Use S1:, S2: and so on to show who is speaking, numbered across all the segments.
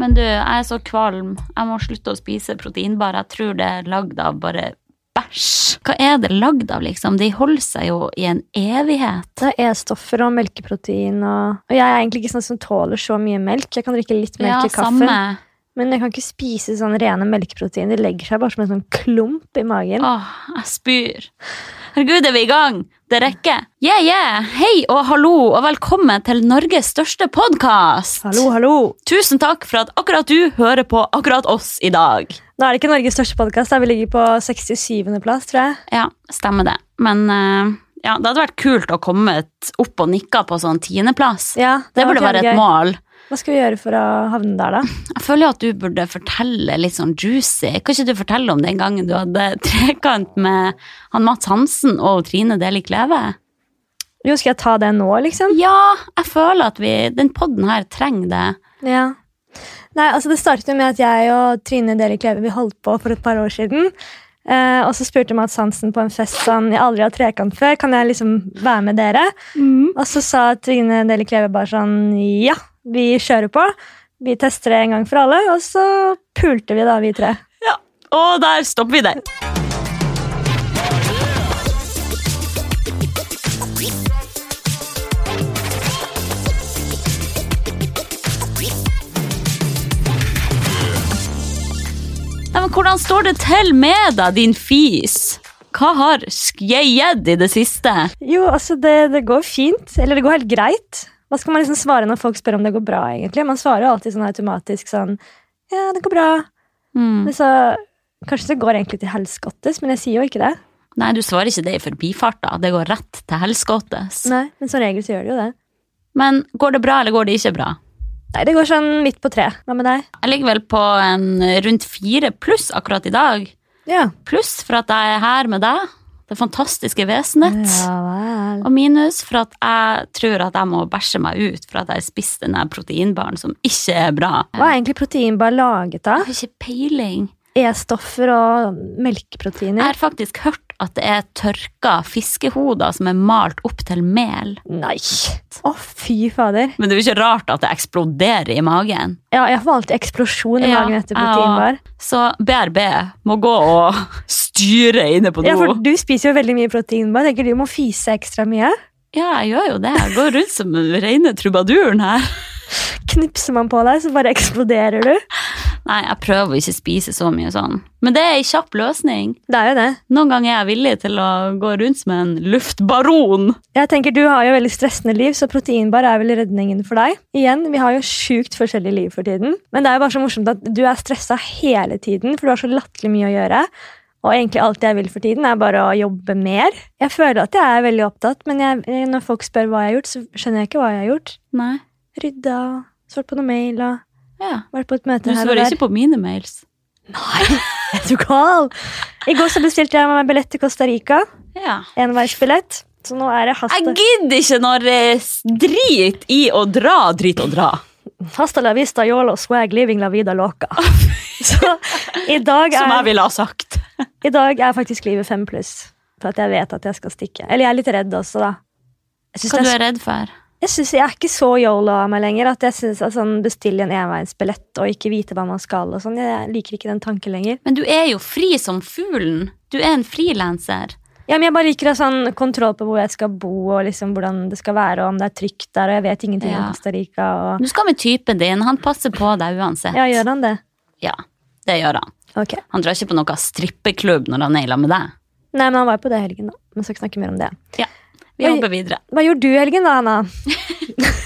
S1: Men du, jeg er så kvalm. Jeg må slutte å spise proteinbar. Jeg tror det er lagd av bare bæsj. Hva er det lagd av, liksom? De holder seg jo i en evighet.
S2: Det er E-stoffer og melkeprotein og Og jeg er egentlig ikke sånn som tåler så mye melk. Jeg kan drikke litt melk
S1: Ja,
S2: i kaffen.
S1: samme.
S2: Men jeg kan ikke spise sånn rene melkeprotein. Det legger seg bare som en sånn klump i magen.
S1: Åh, jeg spyr. Herregud, er vi i gang? Det rekker. Yeah, yeah! Hei og hallo, og velkommen til Norges største podkast!
S2: Hallo, hallo!
S1: Tusen takk for at akkurat du hører på akkurat oss i dag.
S2: Nå er det ikke Norges største podkast. Vi ligger på 67. plass, tror jeg.
S1: Ja, stemmer det. Men eh, ja, det hadde vært kult å komme et- opp og nikka på sånn tiendeplass.
S2: Ja,
S1: Det burde
S2: var
S1: være et
S2: kjempegøy.
S1: mål.
S2: Hva skal vi gjøre for å havne der, da?
S1: Jeg føler jo at du burde fortelle litt sånn juicy. Kan ikke du fortelle om den gangen du hadde trekant med han Mats Hansen og Trine Deli Kleve?
S2: Jo, skal jeg ta det nå, liksom?
S1: Ja, jeg føler at vi, den podden her trenger det.
S2: Ja. Nei, altså Det startet jo med at jeg og Trine Deli Kleve vi holdt på for et par år siden. Eh, og så spurte Mads Hansen på en fest sånn Jeg aldri har trekant før, kan jeg liksom være med dere? Og så sa Trine Deli Kleve bare sånn Ja, vi kjører på. Vi tester det en gang for alle. Og så pulte vi, da, vi tre.
S1: Ja, og der stopper vi den. Nei, men hvordan står det til med deg, din fis? Hva har skjedd i det siste?
S2: Jo, altså det, det går fint. Eller det går helt greit. Hva skal man liksom svare når folk spør om det går bra? egentlig? Man svarer jo alltid sånn automatisk sånn Ja, det går bra.
S1: Mm.
S2: Men så, kanskje det går egentlig til helskottes, men jeg sier jo ikke det.
S1: Nei, du svarer ikke det i forbifarta. Det går rett til helskottes.
S2: Nei, Men som regel så gjør det jo det.
S1: Men går det bra, eller går det ikke bra?
S2: Nei, Det går sånn midt på tre. Hva med deg?
S1: Jeg ligger vel på en rundt fire pluss akkurat i dag.
S2: Ja.
S1: Pluss for at jeg er her med deg, det fantastiske vesenet.
S2: vel.
S1: Og minus for at jeg tror at jeg må bæsje meg ut for at jeg spiste den der proteinbaren som ikke er bra.
S2: Hva er egentlig proteinbar laget
S1: Jeg
S2: av?
S1: har ikke peiling.
S2: E-stoffer og melkeproteiner?
S1: Jeg har faktisk hørt at det er tørka fiskehoder som er malt opp til mel.
S2: Nei! Å, fy fader.
S1: Men det er jo ikke rart at det eksploderer i magen.
S2: Ja, jeg får alltid eksplosjon i
S1: Ja,
S2: magen etter
S1: jeg
S2: proteinbar.
S1: Så BRB må gå og styre inne på do.
S2: Ja, for Du spiser jo veldig mye proteinbar. Tenker du må fise ekstra mye?
S1: Ja, jeg gjør jo det. Jeg går rundt som den rene trubaduren her.
S2: Knipser man på deg, så bare eksploderer du.
S1: Nei, jeg prøver å ikke spise så mye sånn. Men det er ei kjapp løsning.
S2: Det er jo det.
S1: Noen ganger er jeg villig til å gå rundt som en luftbaron.
S2: Jeg tenker Du har jo veldig stressende liv, så proteinbar er vel redningen for deg. Igjen, Vi har jo sjukt forskjellige liv for tiden. Men det er jo bare så morsomt at du er stressa hele tiden, for du har så latterlig mye å gjøre. Og egentlig alt jeg vil for tiden, er bare å jobbe mer. Jeg føler at jeg er veldig opptatt, men jeg, når folk spør hva jeg har gjort, så skjønner jeg ikke hva jeg har gjort.
S1: Nei.
S2: Rydda, svart på noe mail og
S1: Ja.
S2: vært på et
S1: Du
S2: møte her og
S1: svarer
S2: der.
S1: ikke på mine mails.
S2: Nei, er du gal? I går så bestilte jeg meg billett til Costa Rica.
S1: Ja.
S2: Enveisbillett. Så nå er det
S1: Jeg
S2: hasta,
S1: gidder ikke når eh, drit i å dra, drit og dra.
S2: hasta la vista yolo swag living la vida loca. Så i dag
S1: Som jeg
S2: er,
S1: ville ha sagt.
S2: i dag er faktisk livet fem pluss. For at jeg vet at jeg skal stikke. Eller jeg er litt redd også, da. Jeg syns
S1: Hva du
S2: jeg,
S1: er redd for?
S2: jeg, synes jeg er ikke så yolo av meg lenger. At jeg synes at sånn bestille en enveisbillett og ikke vite hva man skal og sånn. Jeg liker ikke den tanken lenger.
S1: Men du er jo fri som fuglen. Du er en frilanser.
S2: Ja, men Jeg bare liker å ha sånn kontroll på hvor jeg skal bo, og liksom hvordan det skal være, og om det er trygt der, og jeg vet ingenting
S1: Ja.
S2: om Costa Rica. Og...
S1: Du skal med typen din. Han passer på deg uansett.
S2: Ja, gjør han det?
S1: Ja, det gjør han.
S2: Ok.
S1: Han drar ikke på noe strippeklubb når han er i lag med deg.
S2: Nei, men han var jo på det i helgen, da. Men skal ikke snakke mer om det.
S1: Vi
S2: Oi.
S1: hopper videre.
S2: Hva gjorde du i helgen, da, Anna?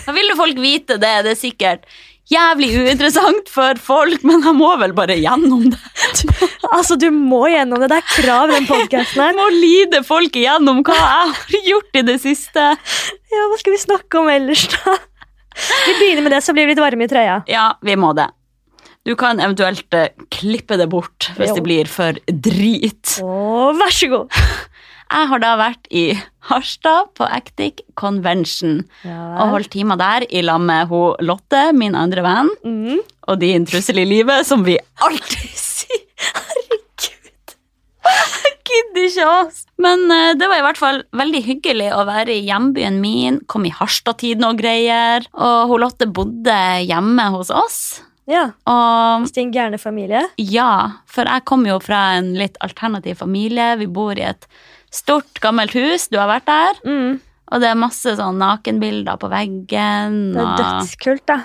S1: Da vil jo folk vite det, det er sikkert jævlig uinteressant for folk, men jeg må vel bare gjennom det.
S2: Altså, du må gjennom det. Det er krav, den podkasten
S1: Jeg
S2: her.
S1: må lide folk igjennom hva jeg har gjort i det siste.
S2: Ja, hva skal vi snakke om ellers, da? Vi begynner med det, så blir vi litt varme i trøya.
S1: Ja, vi må det. Du kan eventuelt eh, klippe det bort hvis
S2: Jo.
S1: det blir for drit.
S2: Å, vær så god.
S1: Jeg har da vært i Harstad på Actic Convention og holdt timer der i lag med ho Lotte, min andre venn,
S2: Mm.
S1: og din trussel i livet, som vi alltid sier. Herregud. Jeg gidder ikke oss. Men eh, det var i hvert fall veldig hyggelig å være i hjembyen min. Kom i Harstad-tiden og greier. Og hun Lotte bodde hjemme hos oss.
S2: Ja.
S1: Og
S2: Hvis det er en gærne familie.
S1: Ja, for jeg kommer jo fra en litt alternativ familie. Vi bor i et stort, gammelt hus. Du har vært der.
S2: Mm.
S1: Og det er masse sånn nakenbilder på veggen.
S2: Det er
S1: Og,
S2: dødskult, da.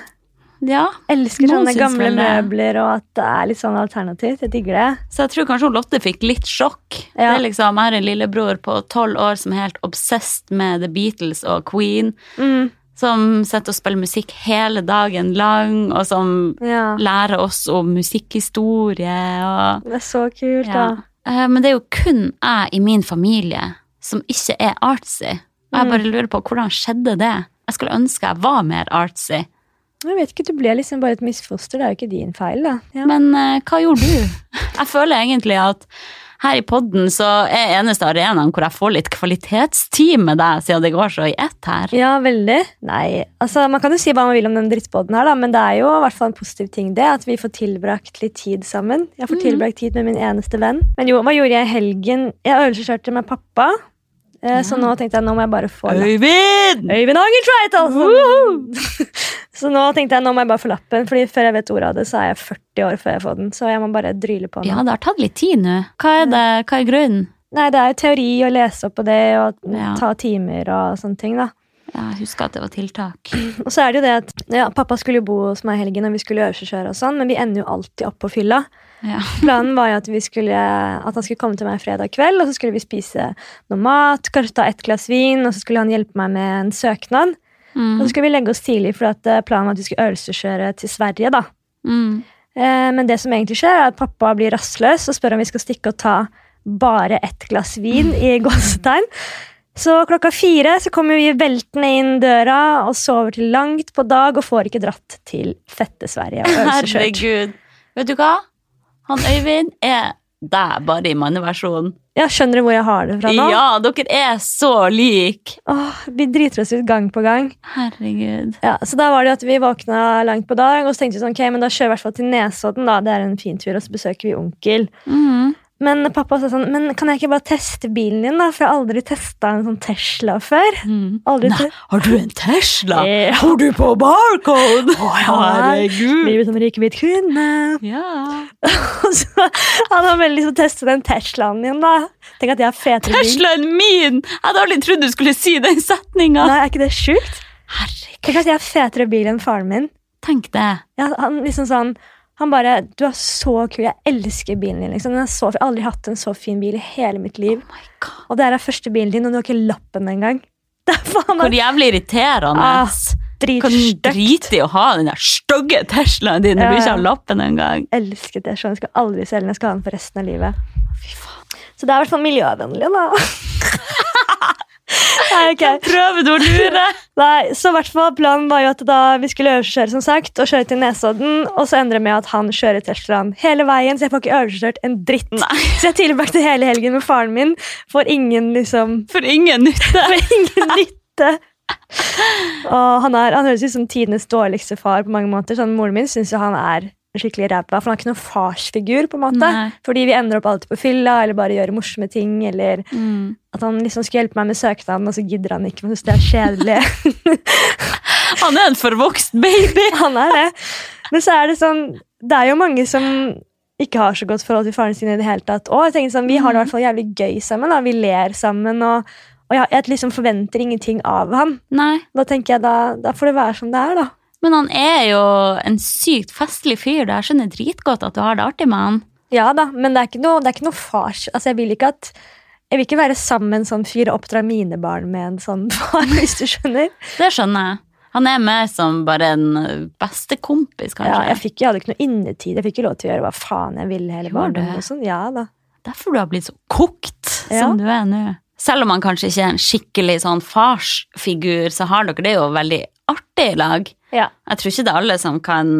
S1: ja.
S2: Elsker
S1: Noen
S2: sånne
S1: syns
S2: gamle
S1: vel det.
S2: møbler og at det er litt sånn alternativt. Jeg digger det.
S1: Så jeg tror kanskje hun Lotte fikk litt sjokk. Det
S2: Ja.
S1: er liksom, Jeg har en lillebror på tolv år som er helt obsessed med The Beatles og Queen.
S2: Mm.
S1: Som sitter og spiller musikk hele dagen lang, og som
S2: Ja.
S1: lærer oss om musikkhistorie. og...
S2: Det er så kult,
S1: Ja.
S2: da.
S1: Eh, Men det er jo kun jeg i min familie som ikke er artsy. Og jeg bare lurer på hvordan skjedde det? Jeg skulle ønske jeg var mer artsy.
S2: Jeg vet ikke, Du ble liksom bare et misfoster. Det er jo ikke din feil, da. Ja.
S1: Men eh, hva gjorde du? Jeg føler egentlig at her i podden så er eneste arenaen hvor jeg får litt kvalitetstid med deg, siden det går så i ett her.
S2: Ja, veldig. Nei, altså Man kan jo si hva man vil om den drittbåten, her da, men det er jo i hvert fall en positiv ting det, at vi får tilbrakt litt tid sammen. Jeg
S1: Mhm.
S2: får tilbrakt tid med min eneste venn. Men jo, hva gjorde jeg i helgen? Jeg øvelseskjørte med pappa, eh, så nå tenkte jeg nå må jeg bare få lappen.
S1: Øyvind!
S2: Øyvind Hagen Tveital! Så- så nå tenkte jeg nå må jeg bare få lappen, Fordi før jeg vet ordet av det, så er jeg 40 år før jeg får den. Så jeg må bare dryle på nå.
S1: Ja, det har tatt litt tid nå. Hva er det? Hva er grunnen?
S2: Nei, det er jo teori å lese opp på det, og
S1: Ja.
S2: ta timer og sånne ting, da.
S1: Ja, jeg husker at det var tiltak.
S2: Og så er det jo det at ja, Pappa skulle jo bo hos meg i helgen, og vi skulle øvelseskjøre, og sånn, men vi ender jo alltid opp på fylla.
S1: Ja.
S2: Planen var jo at, vi skulle, at han skulle komme til meg fredag kveld, og så skulle vi spise noe mat, kanskje ta et glass vin, og så skulle han hjelpe meg med en søknad. Og
S1: Mm.
S2: så skulle vi legge oss tidlig, for at eh, planen var at vi skulle øvelseskjøre til Sverige. da.
S1: Mm.
S2: Eh, Men det som egentlig skjer, er at pappa blir rastløs og spør om vi skal stikke og ta bare ett glass vin i gåsetegn. Så klokka fire så kommer vi veltende inn døra og sover til langt på dag og får ikke dratt til fette Sverige. og
S1: mm.
S2: øvelseskjørt.
S1: Herregud. Vet du hva? Han Øyvind er deg bare i manneversjonen.
S2: Ja, skjønner du hvor jeg har det fra nå?
S1: Ja, dere er så like!
S2: Åh, vi driter oss ut gang på gang.
S1: Herregud.
S2: Ja, så da var det jo at vi våkna langt på dag, og så tenkte vi sånn, ok, men da kjører vi i hvert fall til Nesodden, da. Det er en fin tur, og så besøker vi onkel.
S1: Mhm.
S2: Men pappa sa sånn, men kan jeg ikke bare teste bilen din, da? For jeg har aldri testa en sånn Tesla før.
S1: Mhm.
S2: Aldri
S1: Nei, har du en Tesla?
S2: Ja.
S1: Har du på barcode? Å, herregud.
S2: Livet som sånn rik hvit kvinne.
S1: Ja.
S2: Og så han har vel liksom testet den Teslaen min, da. Tenk at jeg har fetere bil.
S1: Teslaen min! Jeg hadde aldri trodd du skulle si den setninga.
S2: Nei, er ikke det sjukt?
S1: Herregud,
S2: Tenk at jeg har fetere bil enn faren min.
S1: tenk det.
S2: Ja, han liksom sånn han bare 'Du er så kul. Jeg elsker bilen din.' liksom. Den er så fin. Jeg har aldri hatt en så fin bil i hele mitt liv.
S1: Oh my God.
S2: Og det her er første bilen din, og du har ikke lappen engang. Det er faen
S1: Hvor
S2: meg
S1: jævlig irriterende.
S2: Ah,
S1: kan du
S2: dritstøkt.
S1: drite i å ha den der stygge Teslaen din når du
S2: Ja, ja.
S1: ikke har lappen engang?
S2: Elsket det sånn. Jeg skal aldri selge den. Jeg skal ha den for resten av livet.
S1: Fy faen.
S2: Så det er i hvert fall miljøvennlig, da. Nei, ok.
S1: Prøver du å lure?
S2: Nei, så i hvert fall planen var jo at da vi skulle øvelseskjøre, som sagt, og kjøre til Nesodden, og så endrer det med at han kjører Teslaen hele veien, så jeg får ikke øvelseskjørt en dritt.
S1: Nei.
S2: Så jeg tilbrakte hele helgen med faren min, får ingen liksom
S1: For ingen nytte.
S2: får ingen nytte. Og han, er, han høres ut som tidenes dårligste far på mange måter. Sånn, moren min syns jo han er skikkelig ræva, for han har ikke noen farsfigur, på en måte.
S1: Nei.
S2: Fordi vi ender opp alltid på fylla, eller bare gjør morsomme ting, eller
S1: Mm.
S2: at han liksom skulle hjelpe meg med søknaden, og så gidder han ikke, for han synes det er kjedelig.
S1: Han er en forvokst baby.
S2: Han er det. Men så er det sånn Det er jo mange som ikke har så godt forhold til faren sin i det hele tatt. Og jeg tenker sånn, Vi har det i hvert fall jævlig gøy sammen. Da. Vi ler sammen. Og, og jeg, jeg liksom forventer ingenting av ham.
S1: Nei,
S2: Da tenker jeg, da, da får det være som det er, da.
S1: men han er jo en sykt festlig fyr. da. Jeg skjønner dritgodt at du har det artig med han.
S2: Ja da, men det er ikke noe, det er ikke noe fars Altså, jeg vil ikke at jeg vil ikke være sammen med en sånn fyr og oppdra mine barn med en sånn far. hvis du skjønner.
S1: Det skjønner jeg. Han er mer som bare en bestekompis,
S2: Ja,
S1: kanskje.
S2: jeg, fikk, jeg hadde ikke noe innetid. Jeg fikk ikke lov til å gjøre hva faen jeg ville. hele
S1: Gjorde
S2: barndommen
S1: det?
S2: og sånn. Ja da.
S1: Derfor du har blitt så kokt
S2: Ja.
S1: som du er nå. Selv om han kanskje ikke er en skikkelig sånn farsfigur, så har dere det jo veldig artig i lag.
S2: Ja.
S1: Jeg tror ikke det er alle som kan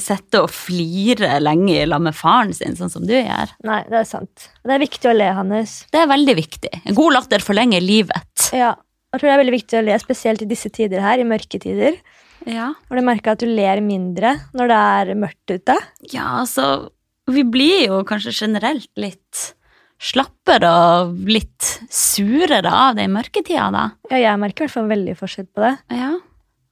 S1: sitte og flire lenge i lag med faren sin, sånn som du gjør.
S2: Nei, det er sant. Det er viktig å le, Hannes.
S1: Det er veldig viktig. En god latter forlenger livet.
S2: Ja, og jeg tror det er veldig viktig å le, spesielt i disse tider her, i mørketider.
S1: Ja.
S2: Har du merka at du ler mindre når det er mørkt ute?
S1: Ja, altså Vi blir jo kanskje generelt litt slappere og litt surere av det i mørketida, da.
S2: Ja, jeg merker i hvert fall veldig forskjell på det.
S1: Ja.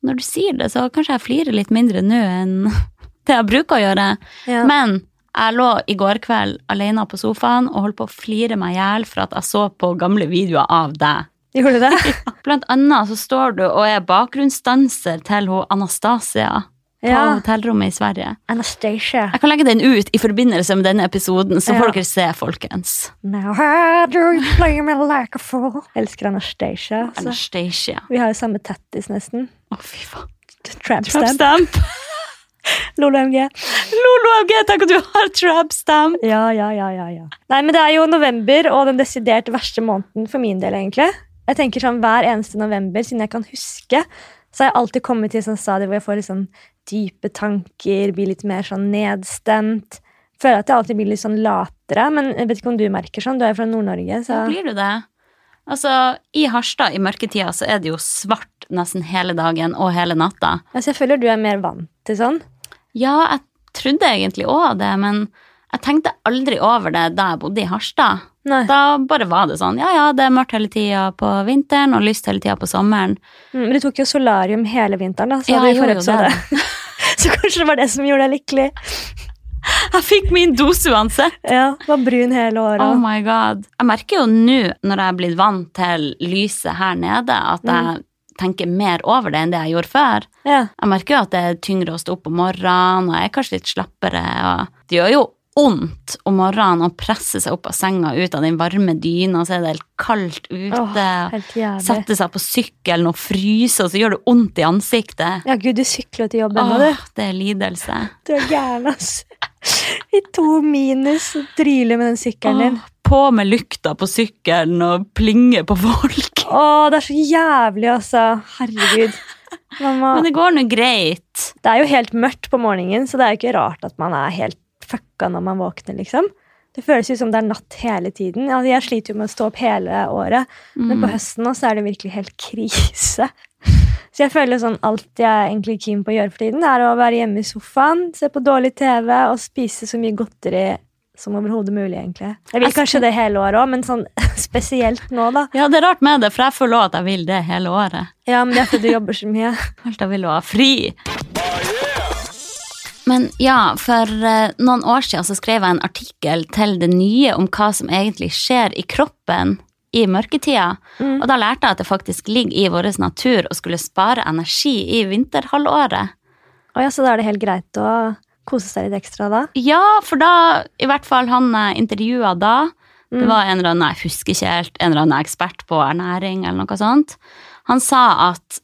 S1: Når du sier det, så kanskje jeg flirer litt mindre nå enn det jeg bruker å gjøre.
S2: Ja.
S1: Men jeg lå i går kveld alene på sofaen og holdt på å flire meg i hjel for at jeg så på gamle videoer av deg.
S2: Gjorde du det?
S1: Blant annet så står du og er bakgrunnsdanser til hun Anastasia på
S2: Ja.
S1: hotellrommet i Sverige.
S2: Anastasia.
S1: Jeg kan legge den ut i forbindelse med denne episoden, så får
S2: Ja.
S1: dere se, folkens.
S2: Now how do you play me like a fool? Elsker Anastasia. altså.
S1: Anastasia.
S2: Vi har jo samme tattis, nesten.
S1: Å, fy faen.
S2: Tramp
S1: Trap
S2: stamp.
S1: stamp.
S2: Lolo MG.
S1: Lolo MG, tenk at du har trap stamp.
S2: Ja, ja, ja, ja, ja. Nei, men det er jo november og den desidert verste måneden for min del, egentlig. Jeg tenker sånn hver eneste november, siden jeg kan huske, så har jeg alltid kommet til sånn stadier hvor jeg får litt sånn dype tanker, blir litt mer sånn nedstemt. Føler at jeg alltid blir litt sånn latere, men jeg vet ikke om du merker sånn. Du er jo fra Nord-Norge, så
S1: Blir du det? Altså, i Harstad i mørketida så er det jo svart nesten hele dagen og hele natta.
S2: altså, jeg føler du er mer vant til sånn.
S1: Ja, jeg trodde egentlig òg det, men jeg tenkte aldri over det da jeg bodde i Harstad.
S2: Nei.
S1: Da bare var det sånn. Ja, ja, det er mørkt hele tida på vinteren og lyst hele tida på sommeren.
S2: Mm, Men du tok jo solarium hele vinteren, da, så
S1: Ja,
S2: hadde
S1: jeg
S2: vi forrige
S1: gjorde jo
S2: episode. så kanskje det var det som gjorde deg lykkelig.
S1: Jeg fikk min dose uansett.
S2: Ja, Var brun hele året.
S1: Oh my god. Jeg merker jo nå, når jeg er blitt vant til lyset her nede, at jeg tenker mer over det enn det jeg gjorde før.
S2: ja.
S1: Jeg merker jo at det er tyngre å stå opp om morgenen, og jeg er kanskje litt slappere. Og det gjør jo vondt om morgenen å presse seg opp av senga ut av den varme dyna, så er det helt kaldt ute.
S2: Åh, helt jævlig.
S1: Sette seg på sykkelen og fryse, og så gjør det vondt i ansiktet.
S2: Ja, gud, du sykler jo til jobben nå, du.
S1: Åh, det er lidelse.
S2: Du er gæren, ass. I to minus og dryler med den sykkelen din.
S1: Åh, på med lykta på sykkelen og plinge på folk.
S2: Å, det er så jævlig, altså. Herregud. Mamma,
S1: Men
S2: det...
S1: det går nå greit.
S2: er jo helt mørkt på morgenen, så det er jo ikke rart at man er helt fucka når man våkner, liksom. Det føles jo som det er natt hele tiden. Altså, jeg sliter jo med å stå opp hele året, men på høsten nå så er det virkelig helt krise. Så jeg føler sånn alt jeg er egentlig er keen på å gjøre for tiden, er å være hjemme i sofaen, se på dårlig TV og spise så mye godteri som overhodet mulig, egentlig. Jeg vil
S1: Jeg
S2: kanskje det hele året òg, men sånn spesielt nå, da.
S1: Ja, det er rart med det, for jeg føler også at jeg vil det hele året.
S2: Ja, men det er fordi du jobber så mye.
S1: Alt jeg vil jo ha fri. Men ja, for eh, noen år siden så skrev jeg en artikkel til det nye om hva som egentlig skjer i kroppen i mørketida. Og da lærte jeg at det faktisk ligger i vår natur å skulle spare energi i vinterhalvåret.
S2: Og ja, så da er det helt greit å kose seg litt ekstra da.
S1: Ja, for da, i hvert fall han jeg intervjua da, det var en eller annen, jeg husker ikke helt, en eller annen ekspert på ernæring eller noe sånt, han sa at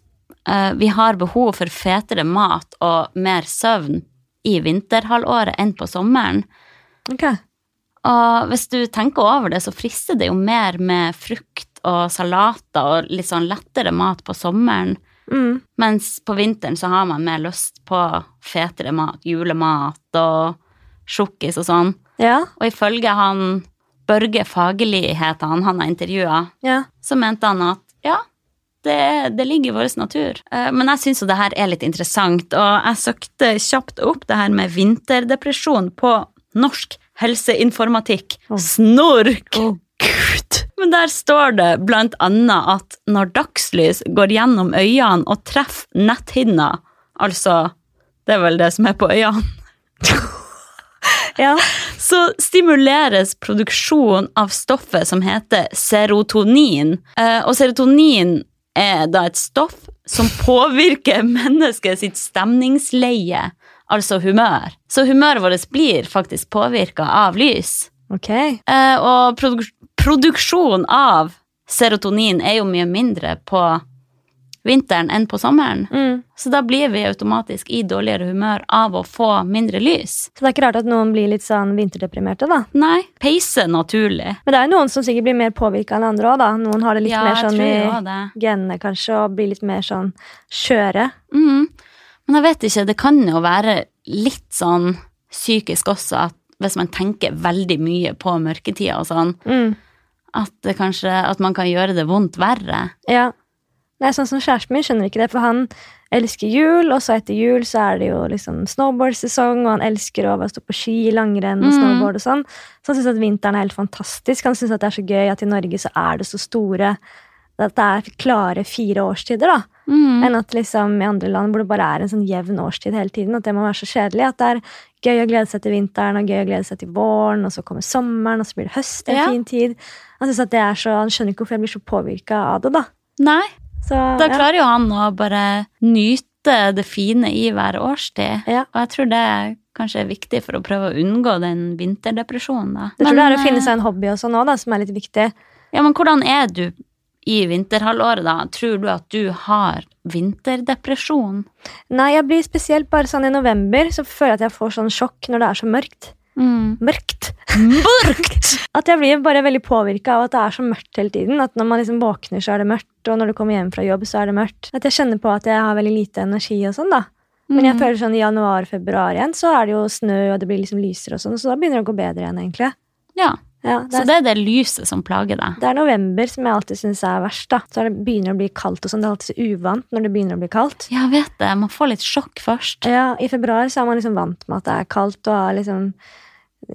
S1: eh, vi har behov for fetere mat og mer søvn i vinterhalvåret enn på sommeren.
S2: Ok.
S1: Og hvis du tenker over det, så frister det jo mer med frukt og salater og litt sånn lettere mat på sommeren.
S2: Mm.
S1: Mens på vinteren så har man mer lyst på fetere mat, julemat og sjokkis og sånn.
S2: Ja,
S1: Og ifølge han Børge Fagerli heter han, han har intervjua,
S2: ja.
S1: så mente han at ja, det, det ligger i vår natur. Eh, Men jeg syns jo det her er litt interessant, og jeg søkte kjapt opp det her med vinterdepresjon på norsk helseinformatikk. Snork!
S2: Å,
S1: Gud! Men der står det blant annet at når dagslys går gjennom øynene og treffer netthinna, altså det er vel det som er på øynene
S2: Ja,
S1: så stimuleres produksjon av stoffet som heter serotonin. Eh, Og serotonin er da et stoff som påvirker mennesket sitt stemningsleie, altså humør. Så humøret vårt blir faktisk påvirka av lys.
S2: ok.
S1: Eh, Og produk produksjon av serotonin er jo mye mindre på vinteren enn på sommeren.
S2: Mm.
S1: Så da blir vi automatisk i dårligere humør av å få mindre lys.
S2: Så det er ikke rart at noen blir litt sånn vinterdeprimerte da.
S1: Nei, peise naturlig.
S2: Men det er jo noen som sikkert blir mer påvirka enn andre òg, da. Noen har det litt mer sånn
S1: jeg tror jo
S2: i
S1: det.
S2: genene, kanskje, og blir litt mer sånn skjøre.
S1: Mm. Men jeg vet ikke, det kan jo være litt sånn psykisk også, at hvis man tenker veldig mye på mørketida og sånn,
S2: Mm.
S1: at, det kanskje, at man kan gjøre det vondt verre.
S2: Ja. Nei, sånn som kjæresten min skjønner ikke det, for han elsker jul, og så etter jul så er det jo liksom snowboardsesong, og han elsker å bare stå på ski, langrenn og
S1: Mm.
S2: snowboard og sånn. Så han syns at vinteren er helt fantastisk. Han syns at det er så gøy at i Norge så er det så store At det er klare fire årstider, da.
S1: Mm.
S2: enn at liksom i andre land hvor det bare er en sånn jevn årstid hele tiden, at det må være så kjedelig. At det er gøy å glede seg til vinteren og gøy å glede seg til våren, og så kommer sommeren, og så blir det høst, en
S1: Ja.
S2: fin tid. Han synes at det er så, han skjønner ikke hvorfor jeg blir så påvirka av det, da.
S1: Nei,
S2: Så,
S1: da
S2: ja.
S1: klarer jo han å bare nyte det fine i hver årstid.
S2: Ja.
S1: Og jeg tror det kanskje er viktig for å prøve å unngå den vinterdepresjonen. Da.
S2: Jeg tror det er å
S1: eh,
S2: finne seg en hobby sånn også nå, da, som er litt viktig.
S1: Ja, men hvordan er du i vinterhalvåret, da? Tror du at du har vinterdepresjon?
S2: Nei, jeg blir spesielt bare sånn i november, så føler jeg at jeg får sånn sjokk når det er så mørkt.
S1: Mm.
S2: Mørkt!
S1: Mørkt!
S2: At jeg blir bare veldig påvirka av at det er så mørkt hele tiden. At når man liksom våkner, så er det mørkt, og når du kommer hjem fra jobb, så er det mørkt. At jeg kjenner på at jeg har veldig lite energi og sånn, da. Men
S1: Mm.
S2: jeg føler sånn i januar-februar igjen, så er det jo snø, og det blir liksom lysere og sånn, så da begynner det å gå bedre igjen, egentlig.
S1: Ja,
S2: Ja, det,
S1: så
S2: er,
S1: det er det lyset som plager deg.
S2: det er november som jeg alltid syns er verst, da. Så er det begynner å bli kaldt og sånn. Det er alltid så uvant når det begynner å bli kaldt.
S1: Ja, jeg vet det. Man får litt sjokk først.
S2: Ja, i februar så er man liksom vant med at det er kaldt, og har liksom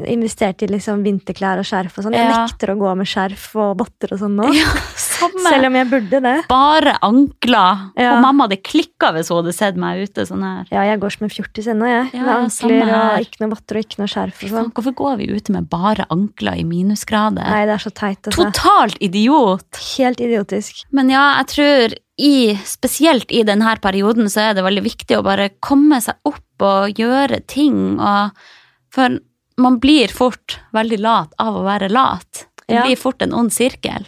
S2: investert i liksom vinterklær og skjerf og sånn. Jeg
S1: Ja.
S2: nekter å gå med skjerf og votter og sånn nå.
S1: Ja, samme.
S2: Selv om jeg burde det.
S1: Bare ankler.
S2: Ja.
S1: Og mamma hadde klikka hvis hun hadde sett meg ute sånn her.
S2: Ja, jeg går som en fjortis ennå, jeg.
S1: Ja, sånn
S2: med
S1: samme
S2: ankler
S1: her.
S2: og ikke noe votter og ikke noe skjerf og
S1: Faen,
S2: sånn.
S1: hvorfor går vi ute med bare ankler i minusgrader?
S2: Nei, det er så teit. Altså.
S1: Totalt idiot!
S2: Helt idiotisk.
S1: Men ja, jeg tror i, spesielt i denne perioden så er det veldig viktig å bare komme seg opp og gjøre ting. Og, for man blir fort veldig lat av å være lat. Det
S2: Ja.
S1: blir fort en ond sirkel.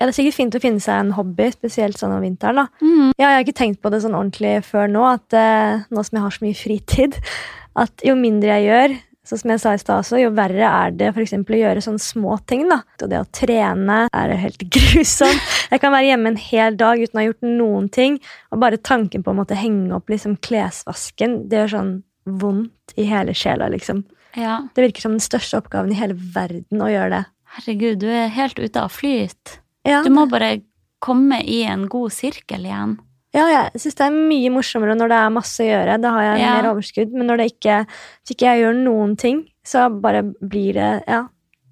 S2: Ja, Det er sikkert fint å finne seg en hobby, spesielt sånn om vinteren. da. Ja, Jeg har ikke tenkt på det sånn ordentlig før nå, at eh, nå som jeg har så mye fritid, at jo mindre jeg gjør, sånn som jeg sa i stad også, jo verre er det for eksempel å gjøre sånne små ting. da. Og det å trene er jo helt grusomt. Jeg kan være hjemme en hel dag uten å ha gjort noen ting. Og bare tanken på å måtte henge opp liksom klesvasken, det gjør sånn vondt i hele sjela, liksom.
S1: Ja,
S2: Det virker som den største oppgaven i hele verden å gjøre det.
S1: herregud, du er helt ute av flyt.
S2: Ja.
S1: Du må bare komme i en god sirkel igjen.
S2: Ja, jeg syns det er mye morsommere når det er masse å gjøre. Da har jeg
S1: Ja.
S2: mer overskudd. Men når det ikke, hvis ikke jeg gjør noen ting, så bare blir det Ja.